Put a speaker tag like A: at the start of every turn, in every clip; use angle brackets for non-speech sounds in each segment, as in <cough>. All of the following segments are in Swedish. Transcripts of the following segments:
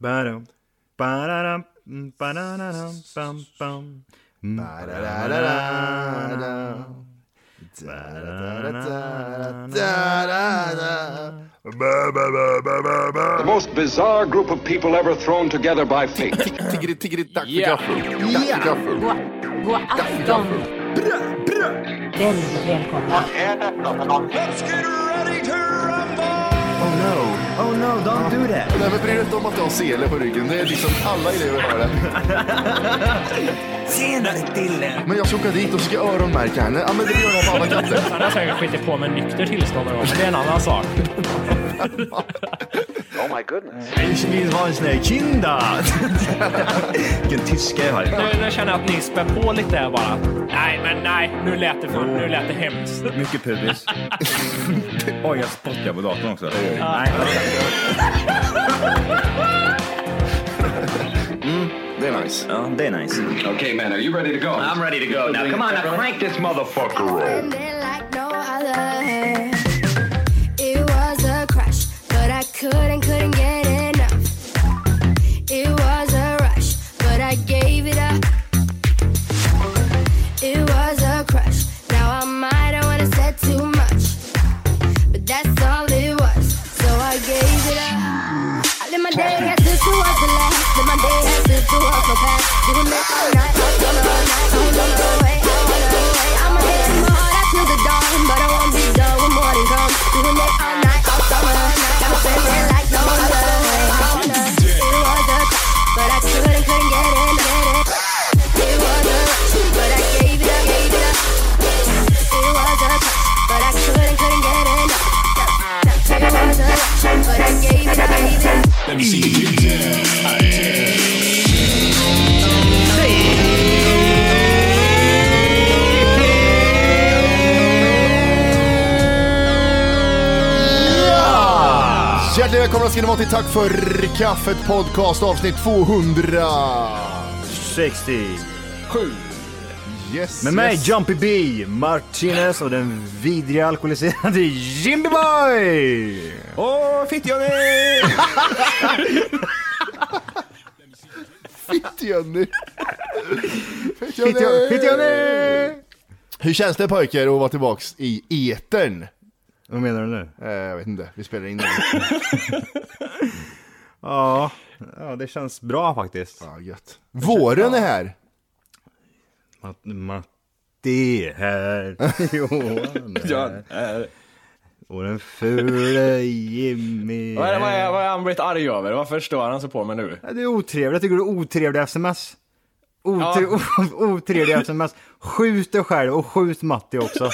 A: Badum. Badadam. mm, Badadadam. Bam, bam. Mm.
B: Ba-da-da-da-da-da. Da-da-da-da-da-da-da.
C: The most bizarre group of people ever thrown together by fate.
B: Tiggeri, tiggeri, dack för
D: Yeah.
B: gaffel. Dack för gaffel.
E: God, god afton! Väldigt välkomna.
B: Oh no.
A: Oh no, don't do that.
B: Nej men bry dig inte om att jag har sele på ryggen. Det är liksom alla elever har det.
A: Senare Dille.
B: Men jag ska åka dit och ska öronmärka henne. Ja men det gör jag på alla katter.
D: Han har säkert skitit på med nykter tillstånd någon gång, men det är en annan sak.
C: Oh my goodness.
A: Ich will ha en sån här kinda. <laughs> Vilken tyska jag har.
D: Nu, nu känner jag att ni spär på lite här bara. Nej, men nej, nu lät det, för, nu lät det hemskt.
A: Mycket pubis. <laughs> Oj, jag spottar på datorn också. Nej,
B: Det är nice.
A: ja, det är nice.
C: Okay, man, are you ready to go? I'm ready to go. Now, come on, now crank this motherfucker up.
F: Pretending like no other. It was a crush, but I couldn't, couldn't get enough. It was a rush, but I gave it up. It was a crush. Now I might have wanna said too much, but that's all it was. So I gave it up. I live my day as if it was the last. Live my day as if it was my past. Doing it all night, all night, all night. I was on the way, I was on the way. I'ma hit him hard out till the dawn, but I won't be done when morning comes. Doing it all night, all summer, all night. Got me feeling like no other way. I wanna. It was a crush, but I couldn't, couldn't get in, get in. It was a rush, but I gave it up, gave it up. It was a crush, but I couldn't, couldn't get in. It was a rush, but I gave it up, gave it up.
B: Ah! Hjärtligt välkomna ska ni vara till Tack för kaffet podcast avsnitt 200.
A: 60.
B: Yes,
A: Med mig
B: yes.
A: Jumpy B, Martinez och den vidriga alkoholiserade Jimmy Boy!
G: Åh, fitt-Johnny!
B: Jenny. Jenny.
A: Fittjoni!
B: Hur känns det pojkar att vara tillbaks i etern?
A: Vad menar du nu?
B: Eh, jag vet inte, vi spelar in <laughs> nu.
A: Ja, ja, det känns bra faktiskt.
B: Ja, gött. Våren är här.
A: Matt, Matti är här, <laughs> Johan är
G: John,
A: här.
G: eh, vad,
A: och den fule <laughs> Jimmy.
G: är, vad,
A: här.
G: är, vad är han blivit arg över? Varför stör han sig på mig nu?
A: Ja, Det är otrevligt, jag tycker det är otrevliga sms. Otre, <laughs> Otrevliga sms. Skjut dig själv och skjut Matti också. <laughs>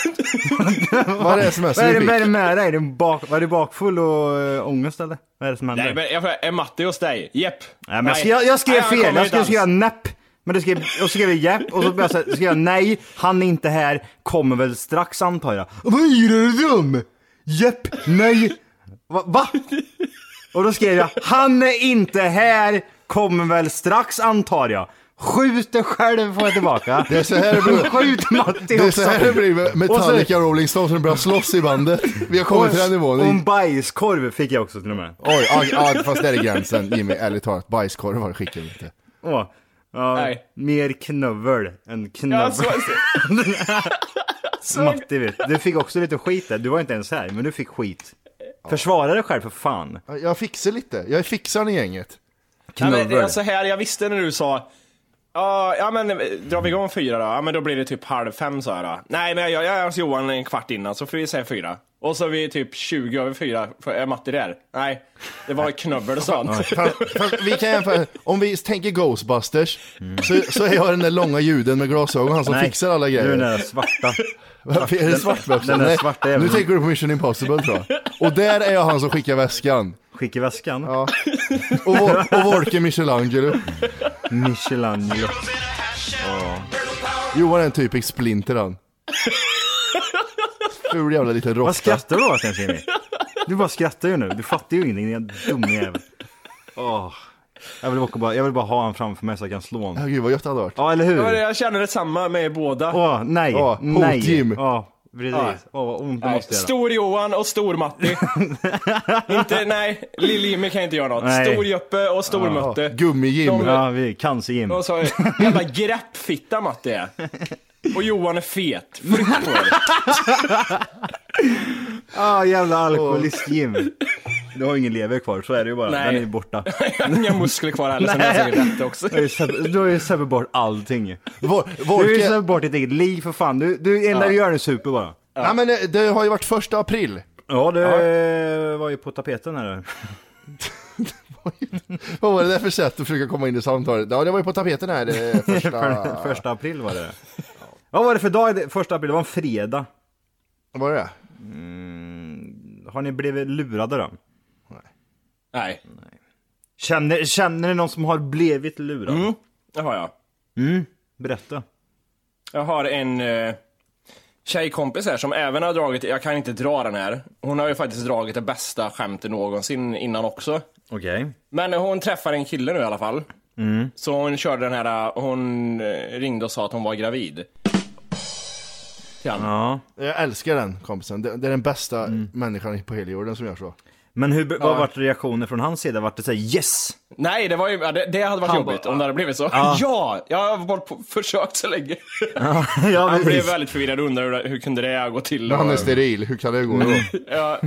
B: Vad är det som är
A: vad, är det, vad är
B: så
A: det med dig? Är du bak, var du bakfull och äh, ångest eller? Vad är det som händer?
G: Nej, men jag, frågar, är Matti hos dig? Jepp.
A: Nej, men jag, skrev, jag skrev
G: Nej, han
A: fel,
G: kommer
A: jag
G: inte
A: skulle
G: alls.
A: skriva näpp. Men det skrev, jag skrev japp och så började jag säga- skrev jag nej, han är inte här, kommer väl strax antar jag. Vad är det dum? Japp, nej. Va? va? Och då skrev jag, han är inte här, kommer väl strax antar jag. Skjut dig själv får jag tillbaka.
B: Det är så här det blir.
A: Skjut Matti
B: Det är
A: också.
B: så här det blir med Metallica och Rolling Stones när de börjar slåss i bandet. Vi har kommit till den nivån.
A: Och en bajskorv fick jag också till och med.
B: Oj, aj, aj, fast där är gränsen Jimmy, ärligt talat. Bajskorvar skickar vi inte.
A: Åh, ja,
G: Nej.
A: mer knövel än knövel.
G: Ja, så,
A: Matti vet, du fick också lite skit där. Du var inte ens här, men du fick skit. Försvara dig själv för fan.
B: Ja, Jag fixar lite, jag är fixaren i gänget.
G: nej, men, det är
A: Knövel.
G: så här, jag alltså, visste när du sa Ja, ja men eh, drar vi igång fyra då? Ja men då blir det typ halv fem så här. Då. Nej men jag, jag är hos Johan en kvart innan så får vi säga fyra. Och så är vi typ 20 över fyra, för- är Matti där? Nej, det var knubbel och sånt.
B: Fast, fast vi kan jämföra, om vi tänker Ghostbusters, så, så är jag den där långa juden med glasögon, han som fixar alla
A: Du är den
B: grejer.
A: där svarta.
B: Varför är det svart väska?
A: den där
B: Nej,
A: svarta
B: Nu
A: jäveln.
B: tänker du på Mission Impossible tror jag. Och där är jag han som skickar väskan.
A: Skicka i väskan.
B: Och, Vol- och Volke Michelangelo.
A: Michelangelo.
B: Johan är en typisk splinter han. Ful jävla liten
A: Vad
B: råtta.
A: skrattar du åt ens Jimmy? Du bara skrattar ju nu. Du fattar ju ingenting, din dum jävel. Åh. Jag, vill åka bara, jag vill bara ha honom framför mig så jag kan slå honom.
B: Ja, Gud vad gött det hade varit.
A: Ja, eller
G: <laughs> Ja,
A: hur?
G: Jag känner detsamma med båda.
A: Åh, nej.
B: Ja,
A: nej.
B: hot-Jim.
A: Ja, precis. Åh vad ont det
G: Nej.
A: måste göra.
G: Stor-Johan och Stor-Matti.
A: <laughs>
G: inte, nej, Lill-Jimmy kan inte göra något.
A: Nej.
G: Stor-Joppe och Stor-Mötte.
B: Gummi-Jim.
G: De-
A: Ja, vi cancer-Jim.
G: Och så jävla greppfitta
A: <laughs>
G: Matti är. Och Johan är fet. <laughs> Flytt på dig.
A: Ah, jävla alkoholist-Jim. Du har ingen lever kvar, så är det ju bara.
G: Nej.
A: Den är ju borta.
G: Jag har inga muskler kvar heller som jag
A: Nej.
G: säkert rätt också.
A: Du har ju sab- Du har ju sabbat bort allting.
B: Vor-
A: Du har ju
B: Vorke,
A: sabbat bort ditt eget liv för fan. Du, du det enda du gör är super bara.
B: nej men eh, det- det har ju varit första april.
A: Ja, det var ju på tapeten här.
B: Vad var det där för sätt att försöka komma in i samtalet? Ja, det var ju på tapeten
A: <laughs>
B: här det
A: <laughs>
B: första...
A: För, första april var det. Vad var det för dag det- första april? Det var en fredag.
B: Vad var det?
A: Har ni blivit lurade då?
G: Nej,
A: Känner, känner ni någon som har blivit lurad?
G: det har jag.
A: Berätta.
G: Jag har en eh, tjejkompis här som även har dragit, jag kan inte dra den här. Hon har ju faktiskt dragit det bästa skämtet någonsin innan också.
A: Okej.
G: Men hon träffar en kille nu i alla fall.
A: Mm.
G: Så hon körde den här, hon eh, ringde och sa att hon var gravid. Till han.
A: Ja.
B: Jag älskar den kompisen. Det, det är den bästa
A: Mm.
B: människan på hela jorden som gör så.
A: Men hur, vad vart reaktionen från hans sida? Vart det såhär yes?
G: Nej, det, var ju, ja, det, det hade varit
A: Han
G: jobbigt
A: bara,
G: om det hade blivit så. <laughs> Ja, jag har varit på, försökt så länge.
A: ja, <laughs>
G: han blev
A: precis.
G: väldigt förvirrad och undrade hur, hur kunde det gå till.
B: Han är
G: Och-
B: steril, hur kan det gå
A: Mm.
B: då?
A: <laughs>
G: Ja.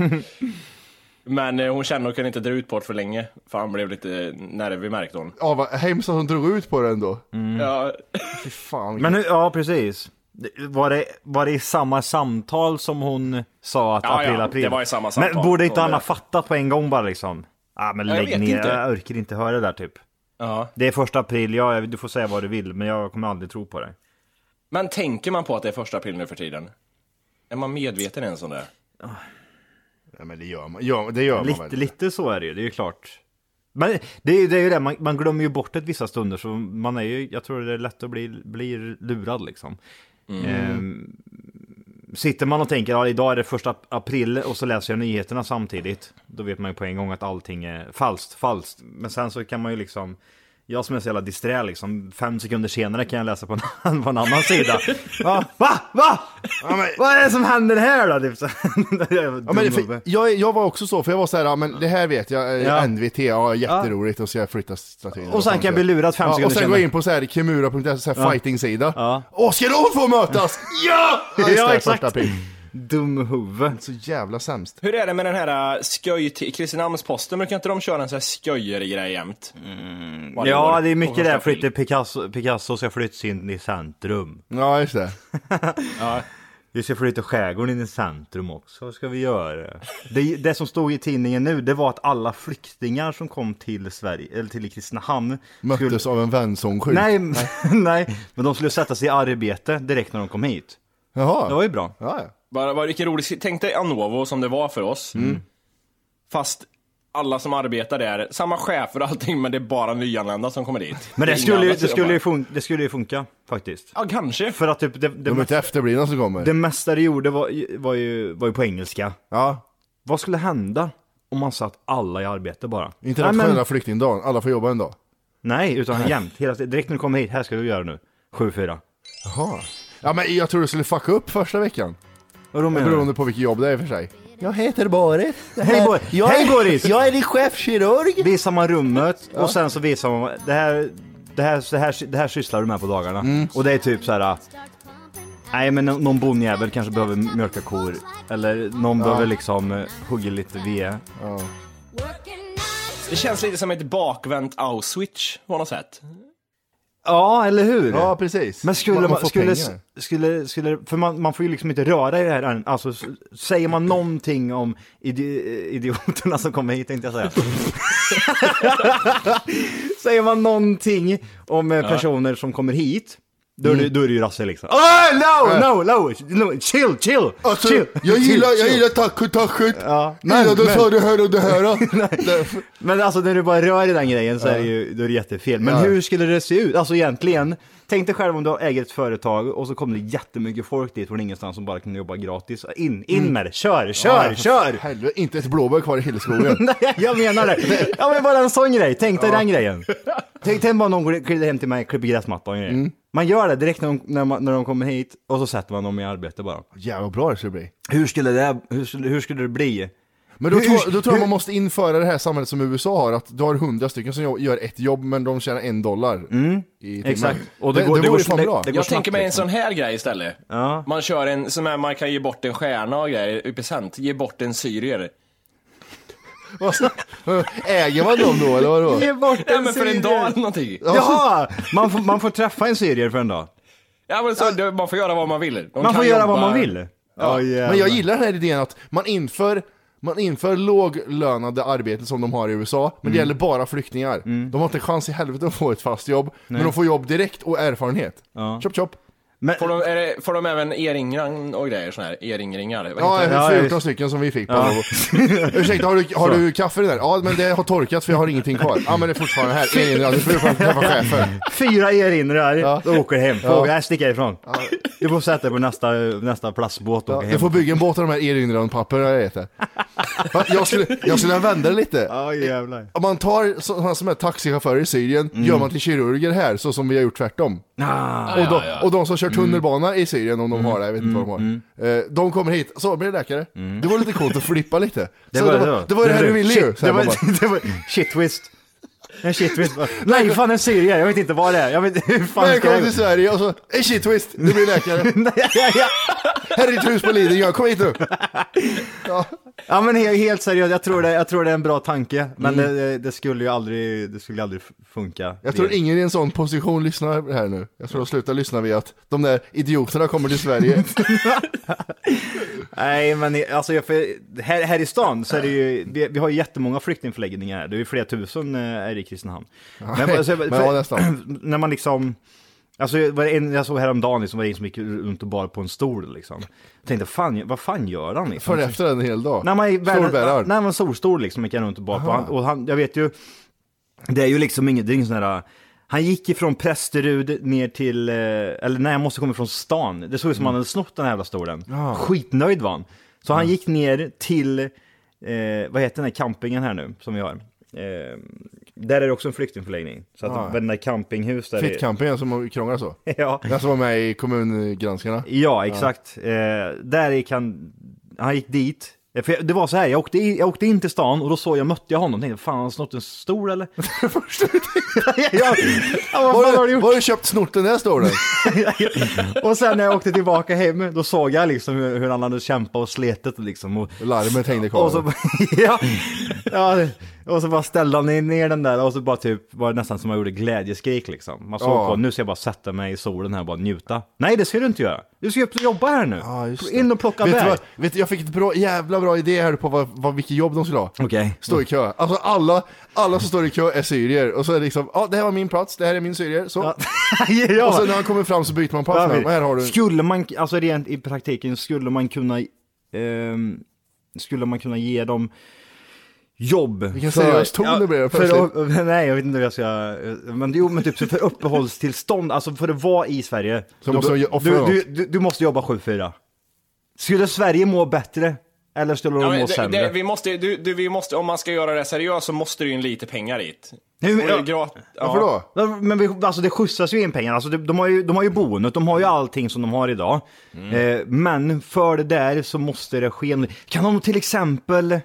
G: Men eh, hon kände att hon kunde inte dra ut på det för länge, för han blev lite nervig märkte hon.
B: Ja, vad hemskt att hon drog ut på det ändå.
G: Ja, <laughs>
B: Fy fan.
A: Mm. Men hur, ja, precis. Det- Var det, var det i samma samtal som hon sa att
G: Ja,
A: april,
G: ja,
A: april?
G: det var i samma samtal.
A: Men borde inte
G: Hon
A: han ha
G: ber-
A: fattat på en gång bara liksom? ah, men
G: Ja, jag
A: lägg
G: vet
A: ner,
G: inte.
A: jag orkar inte höra det där typ.
G: ja.
A: Det är första april, ja, du får säga vad du vill, men jag kommer aldrig tro på det.
G: Men tänker man på att det är första april nu för tiden? Är man medveten ens om det?
B: Ja, men det gör man, ja, det gör man
A: Lite,
B: väl?
A: lite så är det ju, det är ju klart. Men det är ju det, är ju det. Man, man glömmer ju bort det vissa stunder, så man är ju, jag tror det är lätt att bli, bli lurad liksom.
B: Mm.
A: Ehm, sitter man och tänker, ja idag är det första april och så läser jag nyheterna samtidigt. Då vet man ju på en gång att allting är falskt, falskt. Men sen så kan man ju liksom, jag som är så jävla disträ liksom, fem sekunder senare kan jag läsa på en, på en annan
B: <laughs>
A: sida. Va? Va? Va?
B: Ja, men,
A: Vad är det som händer här då? Typ så. <laughs> Jag är
B: ja, men,
A: dum
B: för,
A: huvud.
B: jag, jag var också så, för jag var så här, ja, men det här vet jag, eh,
A: Ja.
B: NVT, ja, jätteroligt, och så jag flyttar statyn.
A: Och sen kan jag bli lurad fem
B: ja, Och
A: sekunder
B: sen gå
A: senare.
B: in på så här kimura.se, så här fighting-sida. Åh, ska de få mötas? ja! Ja,
A: <laughs>
B: just
A: Ja,
B: det,
A: exakt.
B: första april.
A: Dumhuvud.
B: Så jävla sämst.
G: Hur är det med den här äh, skoj... till- Kristinehamns-Posten brukar inte de köra en sån här sköjare-grej jämt? Varje
A: Mm, Ja,
G: år.
A: det är
G: Och
A: mycket
G: första
A: där.
G: april.
A: Flytta Picasso, Picasso ska flyttas in i centrum.
B: Ja, just det.
A: Vi ska flytta skärgården in i centrum också. Vad ska vi göra? Det, det som stod i tidningen nu, det var att alla flyktingar som kom till Sverige, eller till Kristinehamn. skulle-
B: Möttes av en vänsonskylt.
A: <laughs> Nej, nej, men de skulle sätta sig i arbete direkt när de kom hit.
B: Jaha.
A: Det var ju bra.
B: Ja, ja.
G: Bara, bara, vilken rolig... Tänk dig Anovo som det var för oss.
A: Mm.
G: Fast alla som arbetar där, samma chefer och allting, men det är bara nyanlända som kommer dit.
A: Men det
G: Inga
A: skulle, ju-
G: andra
A: det skulle, ju,
G: jobbar.
A: funka, det skulle ju funka faktiskt.
G: Ja, kanske.
A: För att typ, det, det,
B: De är
A: mesta,
B: inte efterblivna som kommer.
A: det mesta det gjorde var, ju- var, ju, var ju på engelska.
B: Ja.
A: Vad skulle hända om man satt alla i arbete bara?
B: Internationella
A: Nej, men-
B: flyktingdagen, alla får jobba en dag.
A: Nej, utan jämt. Hela, tiden. direkt när du kommer hit, här ska du göra nu. 7-4.
B: Jaha. Ja men jag tror du skulle fucka upp första veckan.
A: Vadå menar du?
B: Beroende på vilket jobb det är i och för sig. Jag heter Boris.
A: Hej, Bor- Jag är- Hej, Boris!
B: Jag är din chefkirurg.
A: Visar man rummet och sen så visar man det här, det här, det här, det här sysslar du med på dagarna.
B: Mm.
A: Och det är typ så här. Nej men någon bondjävel kanske behöver mjölka kor. Eller någon behöver liksom eh, hugga lite ved.
G: Det känns lite som ett bakvänt Auschwitz på något sätt.
A: Ja, eller hur?
B: Ja precis.
A: Men skulle man,
B: får
A: skulle,
B: pengar.
A: skulle, skulle, för man, man får ju liksom inte röra i det här än. Alltså, s- säger man någonting om idi idioterna som kommer hit, tänkte jag säga. <laughs> säger man någonting om eh, personer som kommer hit, då är, det,
B: Mm.
A: då är det ju rasse liksom. Oh, no, no, no, no, chill, chill,
B: Alltså,
A: chill.
B: jag
A: chill,
B: gillar, jag
A: chill.
B: gillar taco tacot. Ja,
A: men-
B: men, då
A: men-
B: sa du här och
A: <laughs>
B: det här. Därför-
A: Men alltså när du bara rör i den grejen så är det ju, då är det jättefel. Men
B: Ja.
A: hur skulle det se ut? Alltså egentligen, tänk dig själv om du äger ett företag och så kommer det jättemycket folk dit från ingenstans som bara kan jobba gratis. In,
G: Mm.
A: in med det, kör, kör, kör! <laughs>
B: Helvete, inte ett blåbär kvar i hela skogen.
A: Nej, jag menar det.
G: Mm.
A: Ja men bara en sån grej, tänk dig den grejen. Tänk dig bara någon går- glider hem till mig och klipper gräsmattan och grejer. Man gör det direkt när de, när, man, när de kommer hit och så sätter man dem i arbete bara.
B: Jävlar vad bra det skulle bli.
A: Hur skulle det, hur skulle, hur skulle det bli?
B: Men då,
A: Hur-
B: tror, då tror
A: hur-
B: jag man måste införa det här samhället som USA har, att du har hundra stycken som gör ett jobb men de tjänar en dollar i timmen.
A: Mm. Exakt.
B: Och det, det, vore ju fan
A: det-
B: bra.
A: det <laughs> går
G: Jag
A: snabbt,
G: tänker mig en
A: liksom.
G: sån här grej istället.
A: Ja.
G: Man kör en, som är, man kan ge bort en stjärna och grejer i present. Ge bort en syrier.
B: Vad sa- Äger man dem då eller vadå?
A: Ge bort
G: Ja
A: en
G: men för en
A: syrier.
G: dag eller någonting.
A: Jaha! Man får, man får träffa en syrier för en dag.
G: Ja, men så, det- man får göra vad man vill. De
A: Man
G: kan
A: får göra
G: jobba-
A: vad man vill. Ja,
B: Men jag gillar den här idén att man inför, man inför låglönade arbeten som de har i USA, men det gäller bara flyktingar. De har inte en chans i helvete att få ett fast jobb, men de får jobb direkt och erfarenhet. Chop chop.
A: Men,
G: Får de, är det, får de även eringran och grejer sån här? Eringringar? Vad heter
B: Ja,
G: det?
A: Ja,
B: 14
A: just.
B: stycken som vi fick på <laughs> Ursäkta, har du, har du kaffe i den där? Ja, men det har torkat för jag har ingenting kvar. Ja, men det är fortfarande här. Erinran, du får ju fan träffa chefen.
A: fyra erinrar
B: Ja.
A: och åker hem.
B: Ja.
A: Fråga, ja. sticka ifrån. Du får sätta dig på nästa, nästa plastbåt och
B: Ja,
A: åka hem.
B: du får bygga en båt av de här erinranpapper jag äter. Va, Jag skulle, jag skulle vända det lite.
A: Ja, jävlar.
B: Om man tar sådana som är taxichaufförer i Syrien,
A: Mm.
B: gör man till kirurger här, så som vi har gjort tvärtom.
A: Ah.
B: och, de, och de som
A: Mm.
B: kör tunnelbana i Syrien, om de har det, jag vet inte vad de har. Eh, de kommer hit, så blir det läkare.
A: Mm.
B: Det var lite coolt att flippa lite. Så det, var, det var det här du ville ju.
A: shit,
B: Så
A: Det
B: här,
A: var,
B: man bara, <laughs>
A: det var shit twist. En shit twist. Nej, fan en syrier. Jag vet inte vad det är. Jag vet <laughs> hur fan ska
B: Välkommen till
A: jag...
B: Sverige och så, eh shit twist, du blir läkare.
A: <laughs>
B: Här är ditt hus på Lidingö, kom hit nu.
A: Ja men he- helt seriöst, jag tror det, jag tror det är en bra tanke. Men det, det skulle ju aldrig, det skulle aldrig f- funka.
B: Mm. Jag tror
A: Det-
B: ingen i en sån position lyssnar här nu. Jag tror de slutar lyssna vid att de där idioterna kommer
A: <laughs>
B: till Sverige.
A: Nej men i- alltså jag, för, här, här i stan så är det ju, vi, vi har ju jättemånga flyktingförläggningar här. Det är ju flera tusen eh, här i Kristinehamn.
B: men
A: alltså,
B: ja, nästan.
A: <clears throat> när man liksom, alltså jag, var det en, jag såg häromdagen liksom, var det en som gick runt och bar på en stol liksom. Jag tänkte, fan, vad fan gör han liksom?
B: För efter en hel dag.
A: När man är
B: Storbärar.
A: världens- när man är solstol liksom gick han runt och bar på. Han, och han, jag vet ju, det är ju liksom inget, det är ingen sån här, han gick ifrån Prästerud ner till, eh, eller nej han måste komma från stan. Det såg ut som han hade snott den här jävla stolen. Skitnöjd var han. Så han gick ner till, eh, vad heter den här campingen här nu som vi har? Eh, där är det också en flyktingförläggning. Så att den där campinghus där. är-
B: Fittcampingen som krånglar så.
A: <laughs> ja.
B: Den som var med i kommungranskarna.
A: Ja, exakt. Eh, där gick han, han gick dit. Eh, För jag, det var så här, jag åkte, i, jag åkte in till stan och då såg jag, mötte jag honom och tänkte, fan har han snott en stol <laughs> eller? Det första du tänkte? <laughs> ja, ja, vad fan har du
B: Var,
A: gjort?
B: var du köpt snorten den här
A: <laughs>
B: stolen?
A: och sen när jag åkte tillbaka hem, då såg jag liksom hur, hur han hade kämpat och slitit liksom. Och,
B: Larmet hängde kvar.
A: och, så, <laughs> ja, ja, och så bara ställde han ner den där och så bara typ, var det nästan som man gjorde glädjeskrik liksom. Man såg
B: Ja.
A: på, nu ska jag bara sätta mig i solen här och bara njuta. Nej, det ska du inte göra. Du ska ju upp och jobba här nu.
B: Ja, just det.
A: in och plocka
B: vet du
A: bär.
B: vad, vet, du, jag fick ett bra, jävla bra idé här på vad, vad, vilket jobb de skulle ha. <laughs>
A: Okej.
B: Stå i kö. Alltså alla, alla som står i kö är syrier. Och så är det liksom, ja det här var min plats, det här är min syrier. Så.
A: ja.
B: <laughs> Och sen när han kommer fram så byter man plats med honom. Och Här har du.
A: Skulle man, alltså rent i praktiken, skulle man kunna, ehm, skulle man kunna ge dem jobb?
B: Vilken seriös ton det blev
A: för, att- <laughs> Nej, jag vet inte hur jag ska... Men jo, men typ så för uppehållstillstånd, alltså för att vara i Sverige.
B: Så måste
A: du,
B: jag offra
A: du,
B: något.
A: du, du, du måste jobba 7-4. Skulle Sverige må bättre? Eller skulle de
G: Ja,
A: må
G: men det,
A: sämre?
G: det, vi måste, du, du, vi måste, om man ska göra det seriöst så måste det ju in lite pengar dit.
A: Nej, men-
G: Och det är grat- ja.
B: Varför då?
A: Men vi, alltså det skjutsas ju in pengar, alltså de, de, har ju, de har ju boendet, de har ju allting som de har idag.
G: Mm.
A: Eh, men för det där så måste det ske, en- kan de till exempel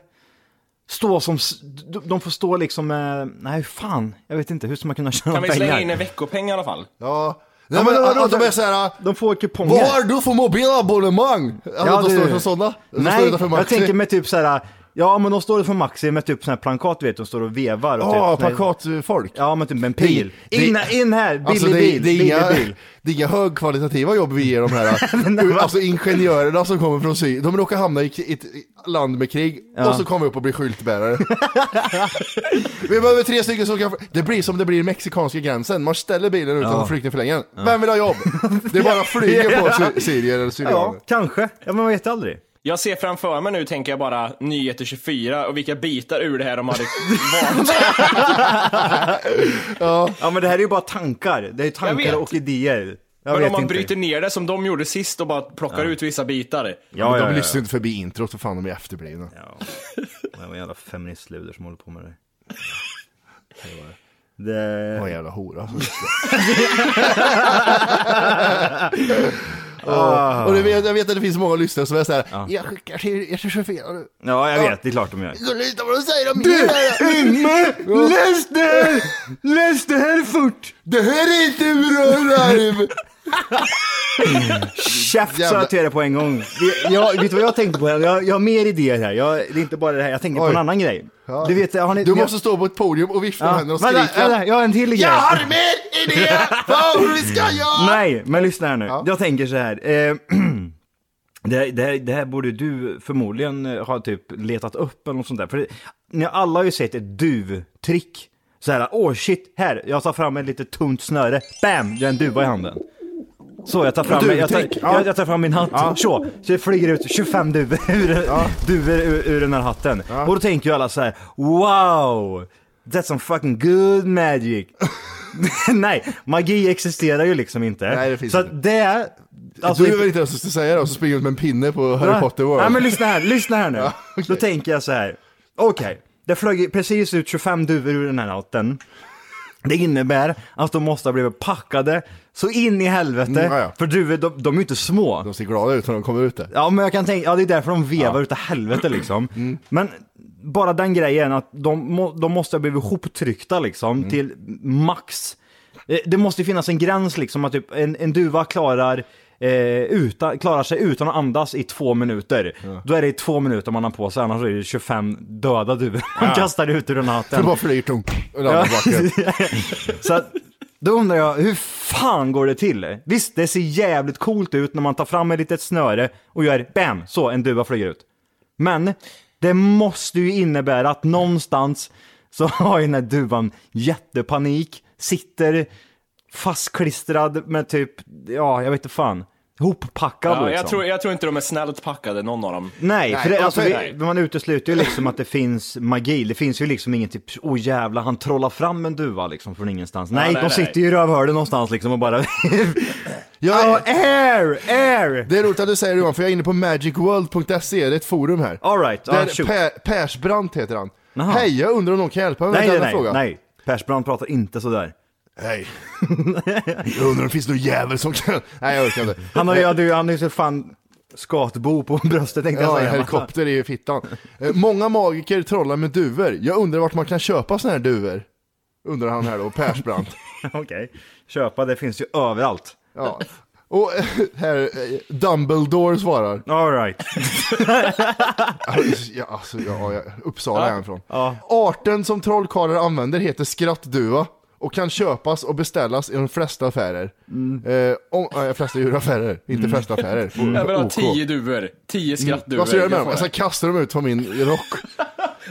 A: stå som, s- de- de får stå liksom, eh, nej fan, jag vet inte, hur ska man kunna tjäna
G: Kan vi
A: pengar?
G: slänga in en veckopeng i alla fall?
B: Ja.
A: Ja,
B: Nej,
A: men
B: men,
A: vadå,
B: att de
A: vadå?
B: är såhär,
A: De får kuponger.
B: vad har du för mobilabonnemang? Alltså
A: Ja,
B: de
A: det-
B: står för sådana. De står
A: Nej,
B: utanför
A: jag
B: Maxi.
A: tänker med typ så här. ja men de står för Maxi med typ sån här plankat du vet, de står och vevar. och
B: Ja,
A: typ, nej.
B: plakatfolk.
A: Ja men typ med en pil.
B: Det- det-
A: in, in här, billig
B: Alltså, det,
A: bil,
B: det, är
A: billig
B: inga, <laughs>
A: bil.
B: det är inga högkvalitativa jobb vi ger de
A: <laughs>
B: här. alltså ingenjörerna som kommer från Syrien, de råkar hamna i k- i ett land med krig och så kommer vi upp och
A: <laughs>
B: blir skyltbärare. vi behöver tre stycken som kan... Det blir som det blir i mexikanska gränsen, man ställer bilen utanför flyktingförläggningen. Vem vill
A: <laughs>
B: ha jobb? Det bara flyger på sy- syrier eller syrianer.
A: Ja, kanske. Ja men man vet aldrig.
G: Jag ser framför mig nu, tänker jag bara, Nyheter 24 och vilka bitar ur det
A: <laughs>
G: här de hade valt.
A: Ja men det här är ju bara tankar. Det är ju tankar
G: vet.
A: och idéer. Jag
G: Men
A: vet
G: om man
A: inte.
G: bryter ner det som de gjorde sist och bara plockar ut vissa bitar.
A: Ja, ja,
B: Men de
A: ja,
B: lyssnar inte förbi introt, för fan de är efterblivna.
A: Ja. Det var en jävla feministluder som håller på med det. Det...
B: Vad en jävla hora. alltså.
A: <laughs> Ah.
B: Och du vet, jag vet att det finns många lyssnare som är såhär, jag skickar till er till chauffören.
A: Ja, jag vet. Det är klart de gör.
B: Lyssna vad de säger om er.
A: Inge! Läs det här! Läs det här fort!
B: Det här är inte bra larm!
A: Käft sa
B: Jävla-
A: jag till dig på en gång. Vi- Jag, vet du vad jag tänkte på? Jag, jag har mer idéer här. Jag, det är inte bara det här. Jag tänkte på
B: Oj.
A: en annan grej. Du vet, har ni...
B: Du
A: vi-
B: måste stå på ett podium och vifta med
A: Ja,
B: händerna och
A: vänta,
B: skrika.
A: vänta, jag har en till grej.
B: Jag har mer idé på hur vi ska göra!
A: Nej, men lyssna här nu.
B: Ja.
A: Jag tänker så här. Eh, <clears throat> det, här- det, här- det här borde du förmodligen eh, ha typ letat upp eller något sånt där. För det, ni alla har ju sett ett duvtrick. Så här, åh shit, här, jag tar fram ett lite tunt snöre. Bam, jag har en duva i handen. Så, jag tar fram, jag tar,
B: Duvtrick, ja.
A: jag, jag tar fram min hatt. Så, så det flyger ut 25 duvor <laughs> ur, duvor ur, ur den här hatten. Och då tänker ju alla så här, wow, that's some fucking good magic. <laughs> Nej, magi existerar ju liksom inte.
B: Nej, det finns
A: så att det... Alltså,
B: du är väl inte den som ska säga det och så springer du ut med en pinne på Harry Potter World.
A: Nej men lyssna här, lyssna
B: <laughs>
A: här nu.
B: okej.
A: Då tänker jag så här. Okej, det flög precis ut 25 duvor ur den här natten. Det innebär att de måste ha blivit packade så in i helvete.
B: Mm, ja, ja.
A: För duvor, de, de är ju inte små.
B: De ser glada ut när de kommer ut där.
A: Ja men jag kan tänka, ja det är därför de vevar utav helvete <clears throat> liksom. Men bara den grejen att de, må, de måste ha blivit hoptryckta liksom till max. Eh, Det måste ju finnas en gräns liksom att typ en, en duva klarar Eh, utan, klarar sig utan att andas i två minuter. Då är det i två minuter man har på sig, annars är det 25 döda duvor man kastar ut ur den här
B: Det
A: hatten.
B: bara flyger tung. Och landar på backen.
A: <laughs> Så att, då undrar jag, hur fan går det till? Visst, det ser jävligt coolt ut när man tar fram ett litet snöre och gör bam, så en duva flyger ut. Men det måste ju innebära att någonstans så har ju den här duvan jättepanik, sitter fastklistrad med typ, ja, jag vet inte fan, hoppackad
G: Ja,
A: liksom.
G: jag, tror, jag tror inte de är snällt packade, någon av dem.
A: Nej, för
B: Nej,
A: det, alltså,
B: och så-
A: vi, man utesluter ju liksom att det finns magi. Det finns ju liksom ingen typ, oh jävla han trollar fram en duva liksom från ingenstans. Nej,
G: nej,
A: de
G: nej.
A: sitter ju i rövhålet någonstans liksom och
B: <laughs>
A: bara...
B: Jag
A: oh,
B: är,
A: air, air!
B: det är roligt att du säger det Johan, för jag är inne på magicworld.se, det är ett forum här.
A: All right, ja,
B: Där
A: shoot.
B: per, Persbrandt heter han.
A: Jaha.
B: Hej, jag undrar om någon kan hjälpa mig med
A: Nej,
B: denna
A: nej, nej,
B: fråga.
A: nej. Persbrandt pratar inte sådär.
B: Hej. <laughs> Jag undrar om det finns någon jävel som kan... Nej, jag orkar inte.
A: Han har ju, han är ju- han är ju så fan skatbo på <laughs> bröstet tänkte jag
B: Ja, en
A: säga.
B: helikopter är ju fittan. Eh, Många magiker trollar med duvor. Jag undrar vart man kan köpa såna här duvor. Undrar han här då,
A: <laughs>
B: Persbrandt.
A: <laughs> Okej, köpa det finns ju överallt.
B: Ja. Och eh, här, eh, Dumbledore svarar.
A: All right.
B: Ja, alltså, ja, ja, Uppsala är han från. Arten som trollkarlar använder heter skrattduva och kan köpas och beställas i de flesta affärer. Eh, om, äh, flesta djuraffärer, inte flesta affärer.
G: Jag vill ha
B: OK.
G: Mm. tio duvor,
A: Mm.
G: tio skrattduvor.
B: Vad ska jag göra med dem?
G: får,
A: Alltså,
B: Jag ska
G: jag.
B: kasta dem ut från min rock.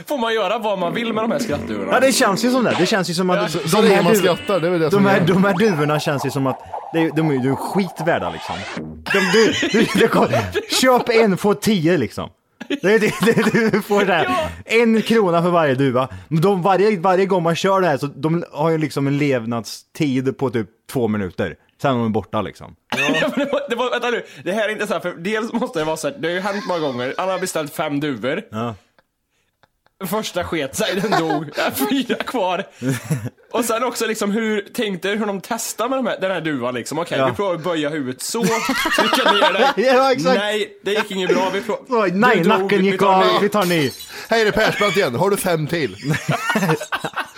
G: får man göra vad man vill med de här skrattduvorna?
A: Ja, det känns ju som det. Det känns ju som att...
B: Så länge man
A: duv-
B: skrattar, det är väl det
A: De
B: som
A: här,
B: är.
A: de här duvorna känns ju som att det är, de är ju skitvärda liksom. De, du, du, du, kom, köp en, få tio liksom. Det, det, det, du får det här. En krona för varje duva. Men De, varje, varje gång man kör det här så de har ju liksom en levnadstid på typ två minuter. Sen är de borta liksom.
G: Ja, men det var, det var, vänta nu, det här är inte så här, för dels måste det vara så här, det har ju hänt många gånger, han har beställt fem duvor. Första sket sig, den dog. Jag har fyra kvar. Och sen också liksom hur, tänkte hur de testar med de här, den här duvan liksom. Okej,
A: Ja.
G: vi provar att böja huvudet så, trycka ner
A: <laughs>
G: den.
A: Ja, exakt.
G: Nej, det gick inget bra. Vi provar.
A: Oj, Nej, nacken gick av, vi tar en ny.
B: Hej, det är Persbrandt igen. Har du fem till? <laughs>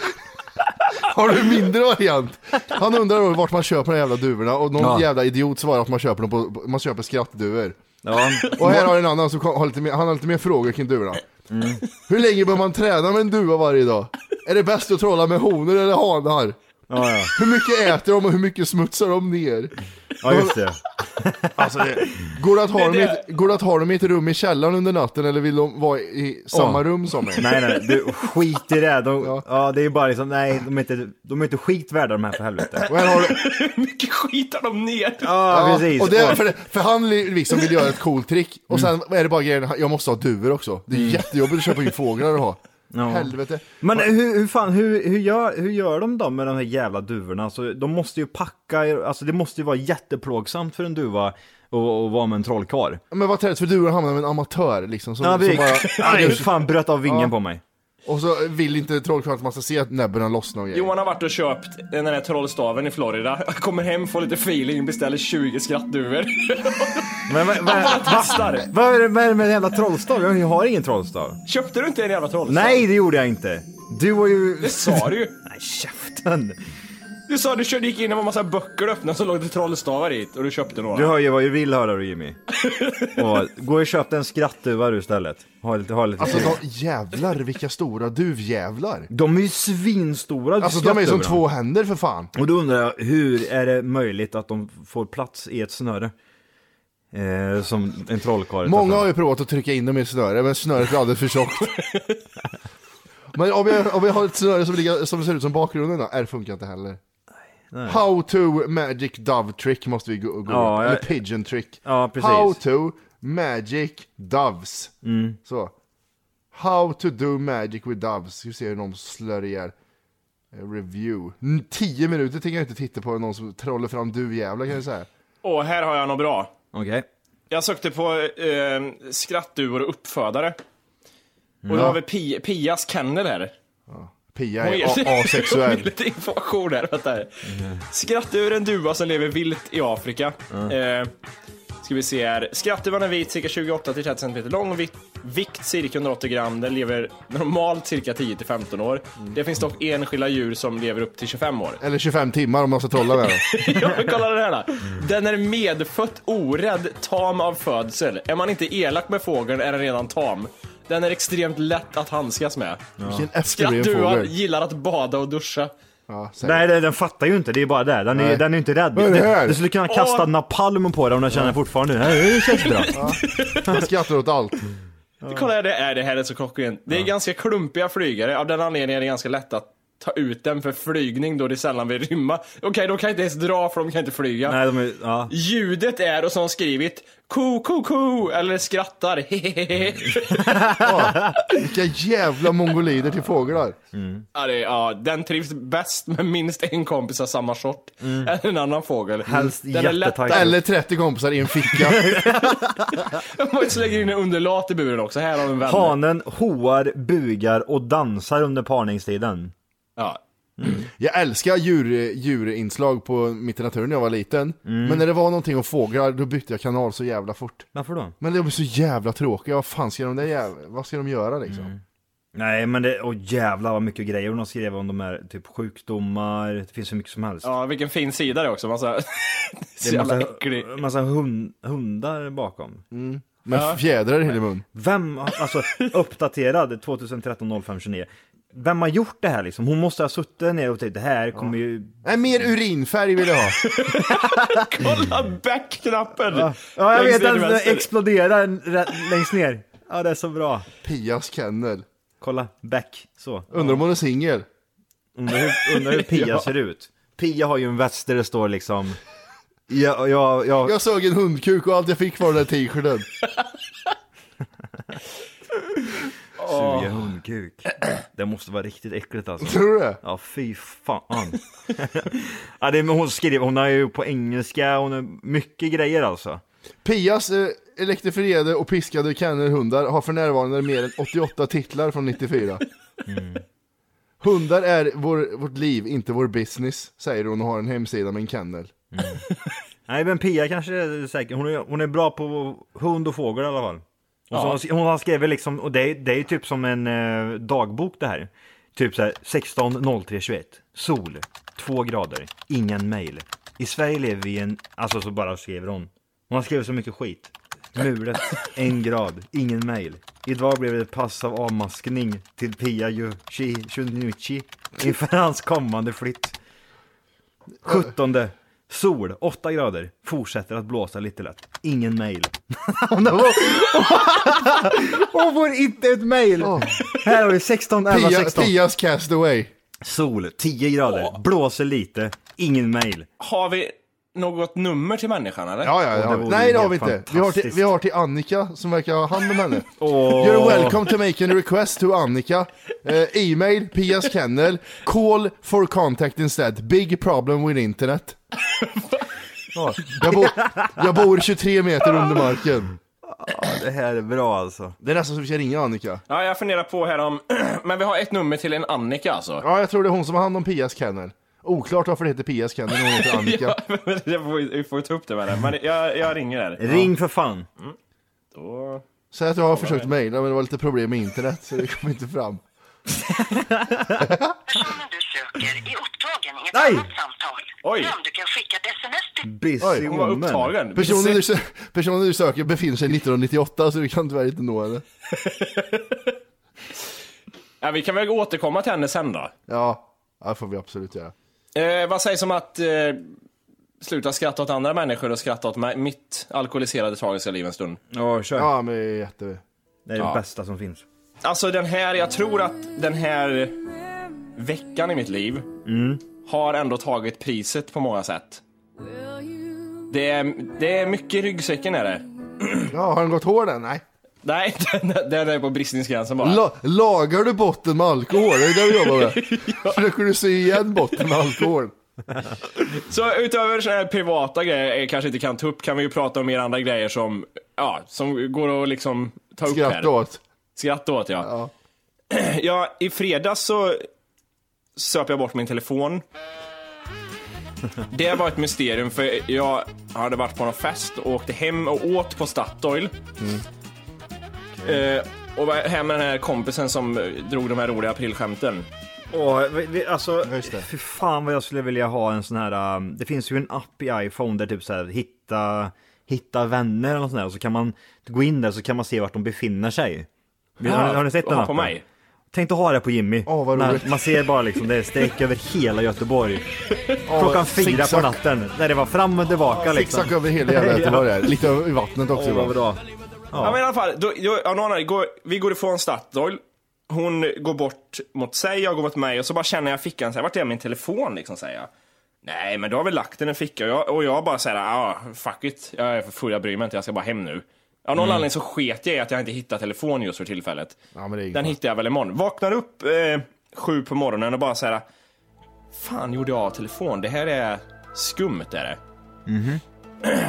B: Har du mindre variant? Han undrar då vart man köper de jävla duvorna och någon
A: Ja.
B: jävla idiot svarar att man köper dem på, man köper skrattduvor.
A: Ja.
B: Och här har en annan som har lite mer, han har lite mer frågor kring duvorna.
A: Mm.
B: Hur länge bör man träna med en duva varje dag? Är det bäst att trolla med honor eller hanar?
A: Ja, ja.
B: Hur mycket äter de och hur mycket smutsar de ner?
A: ja, just det.
B: Alltså, det... går, det att ha dem i
G: det-
B: ett, går det att ha dem i ett rum i källaren under natten eller vill de vara i samma
A: Åh.
B: rum som mig?
A: Nej, nej, du skit i det. De, ja.
B: Ja.
A: det är ju bara liksom, nej, de är inte, de är inte skitvärda de här för helvete.
B: Och här har du...
G: Hur mycket skit har de ner?
A: Ja, precis.
B: Och det
A: Oj.
B: är för, för han li- liksom vill göra ett coolt trick, och sen är det bara grejen, jag måste ha duvor också. Det är
A: Mm.
B: jättejobbigt att köpa in fåglar och ha. Helvete.
A: Men hur, hur fan, hur, hur, gör, hur gör de då med de här jävla duvorna? Alltså, de måste ju packa, alltså det måste ju vara jätteplågsamt för en duva och, och vara med en trollkarl.
B: Men vad trädet för duvor hamnar med en amatör liksom. Som,
A: Ja,
B: som
A: vi,
B: bara,
A: aj, fan bröt av vingen
B: Ja.
A: på mig.
B: Och så vill inte trollkarlen att man ska se att näbben lossnar och grejer.
G: Johan har varit och köpt den där trollstaven i Florida. Kommer hem, får lite feeling, beställer 20 skrattduvor. <laughs>
A: Men vad,
B: <laughs>
A: vad,
G: Bara testar.
A: vad är det vad är det med den jävla trollstav? Jag har ingen trollstav.
G: Köpte du inte en jävla trollstav?
A: Nej, det gjorde jag inte. Du var ju...
G: Det sa du ju.
A: Nej, käften.
G: Du sa du körde, gick in och var massa böcker du öppnade så låg det trollstavar i och du köpte några.
A: Du hör ju vad du vill höra du Jimmy. Och, gå och köp en skrattduva du istället. Ha lite, ha lite
B: Alltså de, jävlar vilka
A: <laughs>
B: stora duvjävlar.
A: De är ju svinstora
B: Alltså de är som
A: skrattduvorna.
B: två händer för fan.
A: Och då undrar jag, hur är det möjligt att de får plats i ett snöre? Eh, som en trollkarl.
B: Många har ju provat att trycka in dem i ett snöre, men snöret blir alldeles
A: <laughs>
B: för tjockt. men om jag, om jag har ett snöre som, ligger, som ser ut som bakgrunden då, är det funkar inte heller. How to magic dove trick måste vi gå, gå
A: Ja,
B: ut.
A: jag-
B: Eller pigeon trick.
A: Ja, precis.
B: How to magic doves. Så. How to do magic with doves. Ska vi se hur någon slår ihjäl. Eh, Review. Mm, 10 minuter tänker jag inte titta på någon som trollar fram duvjävlar kan jag säga.
G: Åh, här har jag något bra.
A: Okej.
G: Jag sökte på eh, skrattduvor och uppfödare. Och då har vi Pi- Pias kennel här.
B: Pia
G: Hon
B: är
G: ger-
B: a-
G: <laughs> hon ger
B: asexuell.
G: lite information här, vänta här. Skrattduvor är en duva som lever vilt i Afrika. Eh, ska vi se här. Skrattduvan är vit, cirka 28-30 cm lång, vikt, vikt cirka 180 gram. Den lever normalt cirka 10-15 år.
B: Mm.
G: Det finns dock enskilda djur som lever upp till
B: <laughs>
G: 25 år.
B: Eller 25 timmar om man ska trolla med dem.
G: Ja, men kolla den här då. Den är medfött orädd, tam av födsel. Är man inte elak med fågeln är den redan tam. Den är extremt lätt att handskas med.
B: Vilken efterbliven
G: Skrattduvan
B: fågel.
G: gillar att bada och duscha.
B: Ja, säg.
A: Nej, den, den fattar ju inte. Det är bara där. Den är,
B: Nej.
A: den är inte rädd.
B: Vad är det här?
A: Du, du skulle kunna kasta
G: Åh.
A: napalm på den om den känner fortfarande. Det här det känns bra.
B: Jag skrattar åt allt.
G: Kolla här, det, är, det här är så klockrent. Det är ganska klumpiga flygare. Av den anledningen är det ganska lätt att ta ut dem för flygning då de sällan vill rymma. Okej, de kan inte ens dra för de kan inte flyga.
A: Nej, de är, ja.
G: Ljudet är, och som de skrivit, ko, ko, ko, eller skrattar, <laughs> hehehe.
B: Vilka jävla mongolider till fåglar.
G: Ja, det, ja, den trivs bäst med minst en kompis av samma sort. Eller en annan fågel.
A: Mm. Helst
G: den är lätt <laughs>
A: jättetajt.
B: Eller 30 kompisar i en ficka.
G: att slänga in en underlat i buren också. Här har vi en vän.
A: Hanen hoar, bugar och dansar under parningstiden.
G: Ja.
B: Jag älskar djur, djurinslag på Mitt i naturen när jag var liten. Men när det var någonting om fåglar, då bytte jag kanal så jävla fort.
A: Varför då?
B: Men de är så jävla tråkiga, vad fan ska de där jävla, vad ska de göra liksom?
A: Nej men det, åh jävlar vad mycket grejer de skrev om de här typ sjukdomar, det finns hur mycket som helst.
G: ja, vilken fin sida det är <laughs> också. Man så här,
A: det
G: så
A: är
G: jävla
A: massa,
G: äcklig.
A: massa hund, hundar bakom.
B: Med fjädrar i hela mun.
A: Vem, har- <laughs> alltså uppdaterad 2013 05 29. Vem har gjort det här liksom? Hon måste ha suttit ner och tänkt det här kommer ju...
B: Nej, mer urinfärg vill jag ha.
G: Kolla back-knappen!
A: Ja jag
G: Längst
A: vet,
G: ner till
A: den
G: vänster.
A: exploderar rä- längst ner. Ja det är så bra.
B: Pias kennel.
A: Kolla, back, så.
B: Undrar om hon är singel?
A: Undrar hur, undrar hur <laughs> Pia ser ut. Pia har ju en väst där det står liksom... Jag, jag, jag,
B: Jag såg en hundkuk och allt jag fick var den där t-shirten.
A: Suga hundkuk. Det måste vara riktigt äckligt alltså.
B: Tror du det?
A: <laughs> Ja, fy fan. <laughs> ja, det, men hon skriver, hon har ju på engelska, hon har mycket grejer alltså.
B: Pias eh, elektrifierade och piskade kennelhundar har för närvarande mer än 88 titlar från 94.
A: Mm.
B: Hundar är vår, vårt liv, inte vår business, säger hon och har en hemsida med en kennel.
A: Nej, men Pia kanske är säker. Hon är, hon är bra på hund och fågel i alla fall. Och så, hon har skrivit liksom, och det, är- det är ju typ som en eh, dagbok det här. Typ så här 16.03.21. Sol, två grader, ingen mejl. I Sverige lever vi i en, alltså så bara skriver hon. Hon har skrivit så mycket skit. Mulet, en grad, ingen mejl. Idag blev det ett pass av avmaskning till Pia Yushi Shunichi inför hans kommande flytt. 17 Sol, 8 grader, fortsätter att blåsa lite lätt. Ingen mail. <laughs> Hon får- <laughs> Hon får inte ett mail! Här har vi 16, 11,
B: Pia,
A: 16.
B: Pias castaway.
A: Sol, 10 grader, blåser lite, ingen mail.
G: Har vi något nummer till människan eller?
B: Ja, ja,
A: det
B: ja.
A: vore
B: Nej, det har vi
A: helt
B: inte. Vi har, till,
A: fantastiskt.
B: vi har till Annika som verkar ha hand om henne. You're welcome to make a request to Annika. Eh, e-mail, Pias kennel, call for contact instead. Big problem with internet. Ja, jag, bor, jag bor 23 meter under marken.
A: Det här är bra alltså.
B: Det är nästan så vi ska ringa Annika.
G: Ja, jag funderar på här om... <clears throat> men vi har ett nummer till en Annika alltså.
B: Ja, jag tror det är hon som har hand om Pias kennel. Oklart varför det heter Pias kennel när hon heter Annika.
G: Jag får, <laughs> vi får ta upp det med henne. Men jag, jag ringer där.
A: Ring för fan.
G: Då...
B: Säg att jag har försökt mejla men det var lite problem med internet så det kom inte fram.
H: Personen du söker är upptagen i ett
A: Nej!
H: annat samtal.
G: Oj.
H: Men du kan skicka ett sms till
A: Busy
G: Hon var
A: woman.
G: upptagen.
B: Personen du, sö- personen du söker befinner sig 1998 så vi kan tyvärr inte nå henne.
G: Ja, vi kan väl återkomma till henne sen då.
B: Ja, ja, det får vi absolut göra.
G: Eh, vad sägs om att eh, sluta skratta åt andra människor och skratta åt mig- mitt alkoholiserade tragiska liv en stund?
A: Ja, kör.
B: Ja, men det är jätte...
A: Det är det bästa som finns.
G: Alltså den här, jag tror att den här veckan i mitt liv har ändå tagit priset på många sätt. Det är, det är mycket i ryggsäcken är det.
B: Ja, har den gått hård än? Nej.
G: Nej, <laughs> den, den är på bristningsgränsen bara.
B: La- lagar du botten med alkohol? Det är det du jobbar <laughs> med. Försöker du sy igen botten med alkohol?
G: Så utöver sådana här privata grejer jag kanske inte kan ta upp kan vi ju prata om mer andra grejer som, ja, som går att liksom ta upp här.
B: Skratt åt.
G: Skratt åt ja. <clears throat> Ja, i fredags så söp jag bort min telefon. Det var ett mysterium för jag hade varit på någon fest och åkte hem och åt på Statoil. Eh, och var hem med den här kompisen som eh, drog de här roliga aprilskämten.
A: Åh, vi- vi- alltså,
B: Just det.
A: fy fan vad jag skulle vilja ha en sån här, um, det finns ju en app i iPhone där typ så här, hitta, hitta vänner eller något sånt där, och så kan man gå in där så kan man se vart de befinner sig. har, har ni sett den
G: Ja,
A: appen?
G: på mig?
A: Tänk att ha det på Jimmy.
B: Åh, vad
A: När
B: roligt.
A: man ser bara liksom, det är streck över hela Göteborg.
B: Ja,
A: Klockan fyra på
B: zigzag-
A: natten, när det var fram och tillbaka liksom.
B: Zigzag över hela jävla Göteborg här. Lite över i vattnet också.
A: Åh, vad
B: ibland.
A: bra.
G: Ja men i alla fall, då, då, av någon anledning går, vi går ifrån Statoil. Hon går bort mot sig, jag går mot mig och så bara känner jag i fickan såhär, vart är min telefon liksom säger jag. Nej men du har väl lagt den i en ficka och jag, och jag bara såhär, ah fuck it, jag är för full, jag bryr mig inte, jag ska bara hem nu. Av någon anledning så sket jag i att jag inte hittar telefon just för tillfället.
B: Ja, men det är
G: Den
B: inget.
G: hittar jag väl imorgon. Vaknar upp eh, sju på morgonen och bara såhär, fan gjorde jag av telefon? Det här är skumt är det.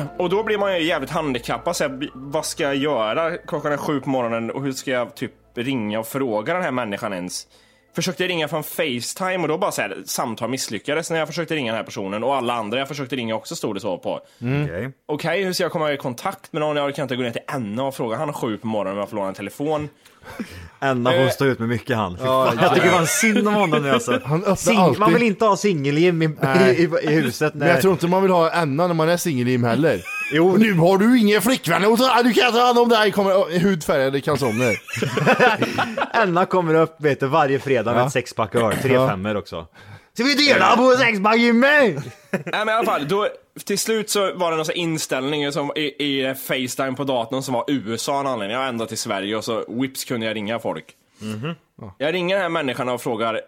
G: <clears throat> Och då blir man ju jävligt handikappad. Så här, vad ska jag göra? Klockan är sju på morgonen och hur ska jag typ ringa och fråga den här människan ens? Försökte ringa från Facetime och då bara så här, samtal misslyckades när jag försökte ringa den här personen och alla andra jag försökte ringa också stod det så på.
B: Mm.
A: Okej.
G: Okej, hur ska jag komma i kontakt med någon? Jag kan inte gå ner till NA och fråga han sju på morgonen om jag får låna en telefon.
A: Enna får stå ut med mycket han. Fy fan, jag tycker fan synd om honom nu alltså.
B: Han öppnar
A: Sing-
B: alltid-
A: Man vill inte ha singel-Jim i,
B: Nej.
A: i, i huset.
B: Men jag tror inte man vill ha Anna när man är singellim <laughs> heller.
A: Jo.
B: Nu har du ingen flickvän, och så- du kan ta hand om det här, kommer oh, hudfärgade kalsonger.
A: <laughs> Anna kommer upp vet du, varje fredag med ett sexpack öl, tre
B: Ja.
A: femmor också. Ska vi dela på sexpack Jimmy?
G: Nej men i alla fall, då, till slut så var det någon sån här inställning som, i, i Facetime på datorn som var USA av en anledning. Jag var ända till Sverige och så whips kunde jag ringa folk. Jag ringer den här människan och frågar,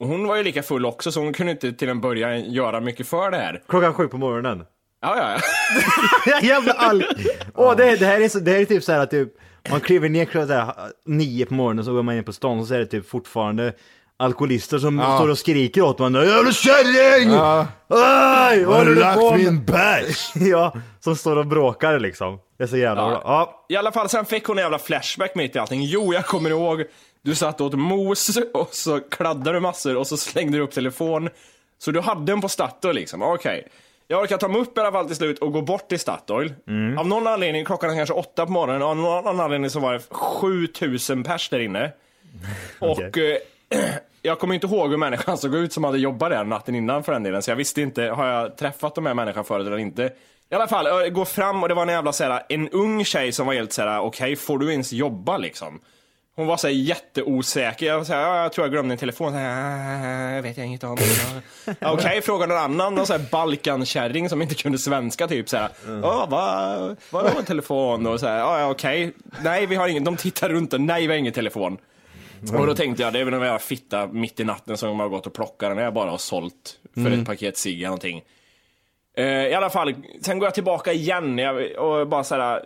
G: och hon var ju lika full också så hon kunde inte till en början göra mycket för det här.
A: Klockan sju på morgonen. <laughs>
G: Ja, ja, ja.
A: Jävla all... Åh, det, det, här är så, det här är typ så här att typ, man kliver ner klockan så här, nio på morgonen så går man in på stan och så är det typ fortfarande alkoholister som står och skriker åt man Jävla kärring!
B: Ja.
A: Aj, vad
B: Har
A: håller
B: du
A: du på
B: lagt
A: med?
B: min bärs?
A: <laughs> Ja, som står och bråkar liksom. Det är så jävla
G: Ja.
A: bra. Ja.
G: I alla fall, sen fick hon en jävla flashback mitt i allting. Jo, jag kommer ihåg, du satt och åt mos <laughs> och så kladdade du massor och så slängde du upp telefon. Så du hade den på Statoil liksom, okej. Jag orkar ta mig upp i alla fall till slut och gå bort till Statoil. Av någon anledning, klockan är kanske åtta på morgonen, av någon någon anledning så var det 7000 pers där inne. Och eh, jag kommer inte ihåg hur människan såg ut som hade jobbat där natten innan för den delen. Så jag visste inte, har jag träffat de här människan förut eller inte? I alla fall, jag går fram och det var en jävla såhär, en ung tjej som var helt såhär, okej får du ens jobba liksom? Hon var såhär jätteosäker, jag var såhär, "Ja, jag tror jag glömde min telefon, såhär, "Ah, vet jag inget om. Ja, okej, fråga någon annan, någon såhär balkankärring som inte kunde svenska typ såhär, ja vad, vad har en telefon? Och såhär, "Ja, ja okej, nej vi har ingen, de tittar runt den, nej vi har ingen telefon. Och då tänkte jag, det är väl en jävla fitta mitt i natten som har gått och plockat den här bara har sålt för ett paket cigg eller någonting. Eh, I alla fall, sen går jag tillbaka igen jag, och bara såhär,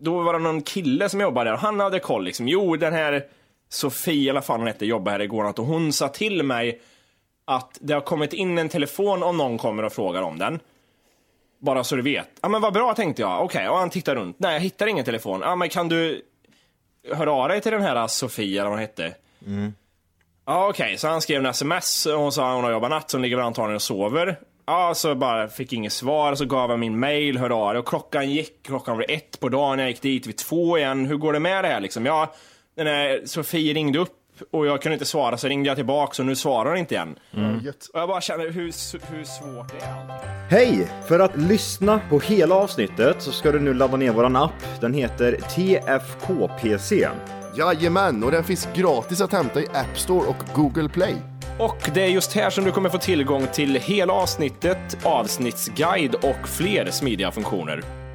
G: då var det någon kille som jobbade där och han hade koll liksom. Jo, den här Sofie, eller fan hon hette, jobbade här igår natt och hon sa till mig att det har kommit in en telefon om någon kommer och frågar om den. Bara så du vet. Ja men vad bra tänkte jag. Okej, och han tittar runt. Nej, jag hittar ingen telefon. Ja men kan du höra av dig till den här Sofia eller vad hon hette? Ja okej, så han skrev en sms och hon sa att hon har jobbat natt så hon ligger väl antagligen och sover. Ja, så bara fick inget svar, så gav jag min mail, hörde av det. och klockan gick, klockan var ett på dagen, jag gick dit vid två igen. Hur går det med det här liksom? Ja, den här Sofie ringde upp och jag kunde inte svara så ringde jag tillbaks och nu svarar hon inte igen.
B: Mm.
G: Och jag bara känner hur, s- hur svårt det är. allting.
A: Hej! För att lyssna på hela avsnittet så ska du nu ladda ner våran app. Den heter TFKPC.
B: Jajamän, och den finns gratis att hämta i App Store och Google Play.
G: Och det är just här som du kommer få tillgång till hela avsnittet, avsnittsguide och fler smidiga funktioner.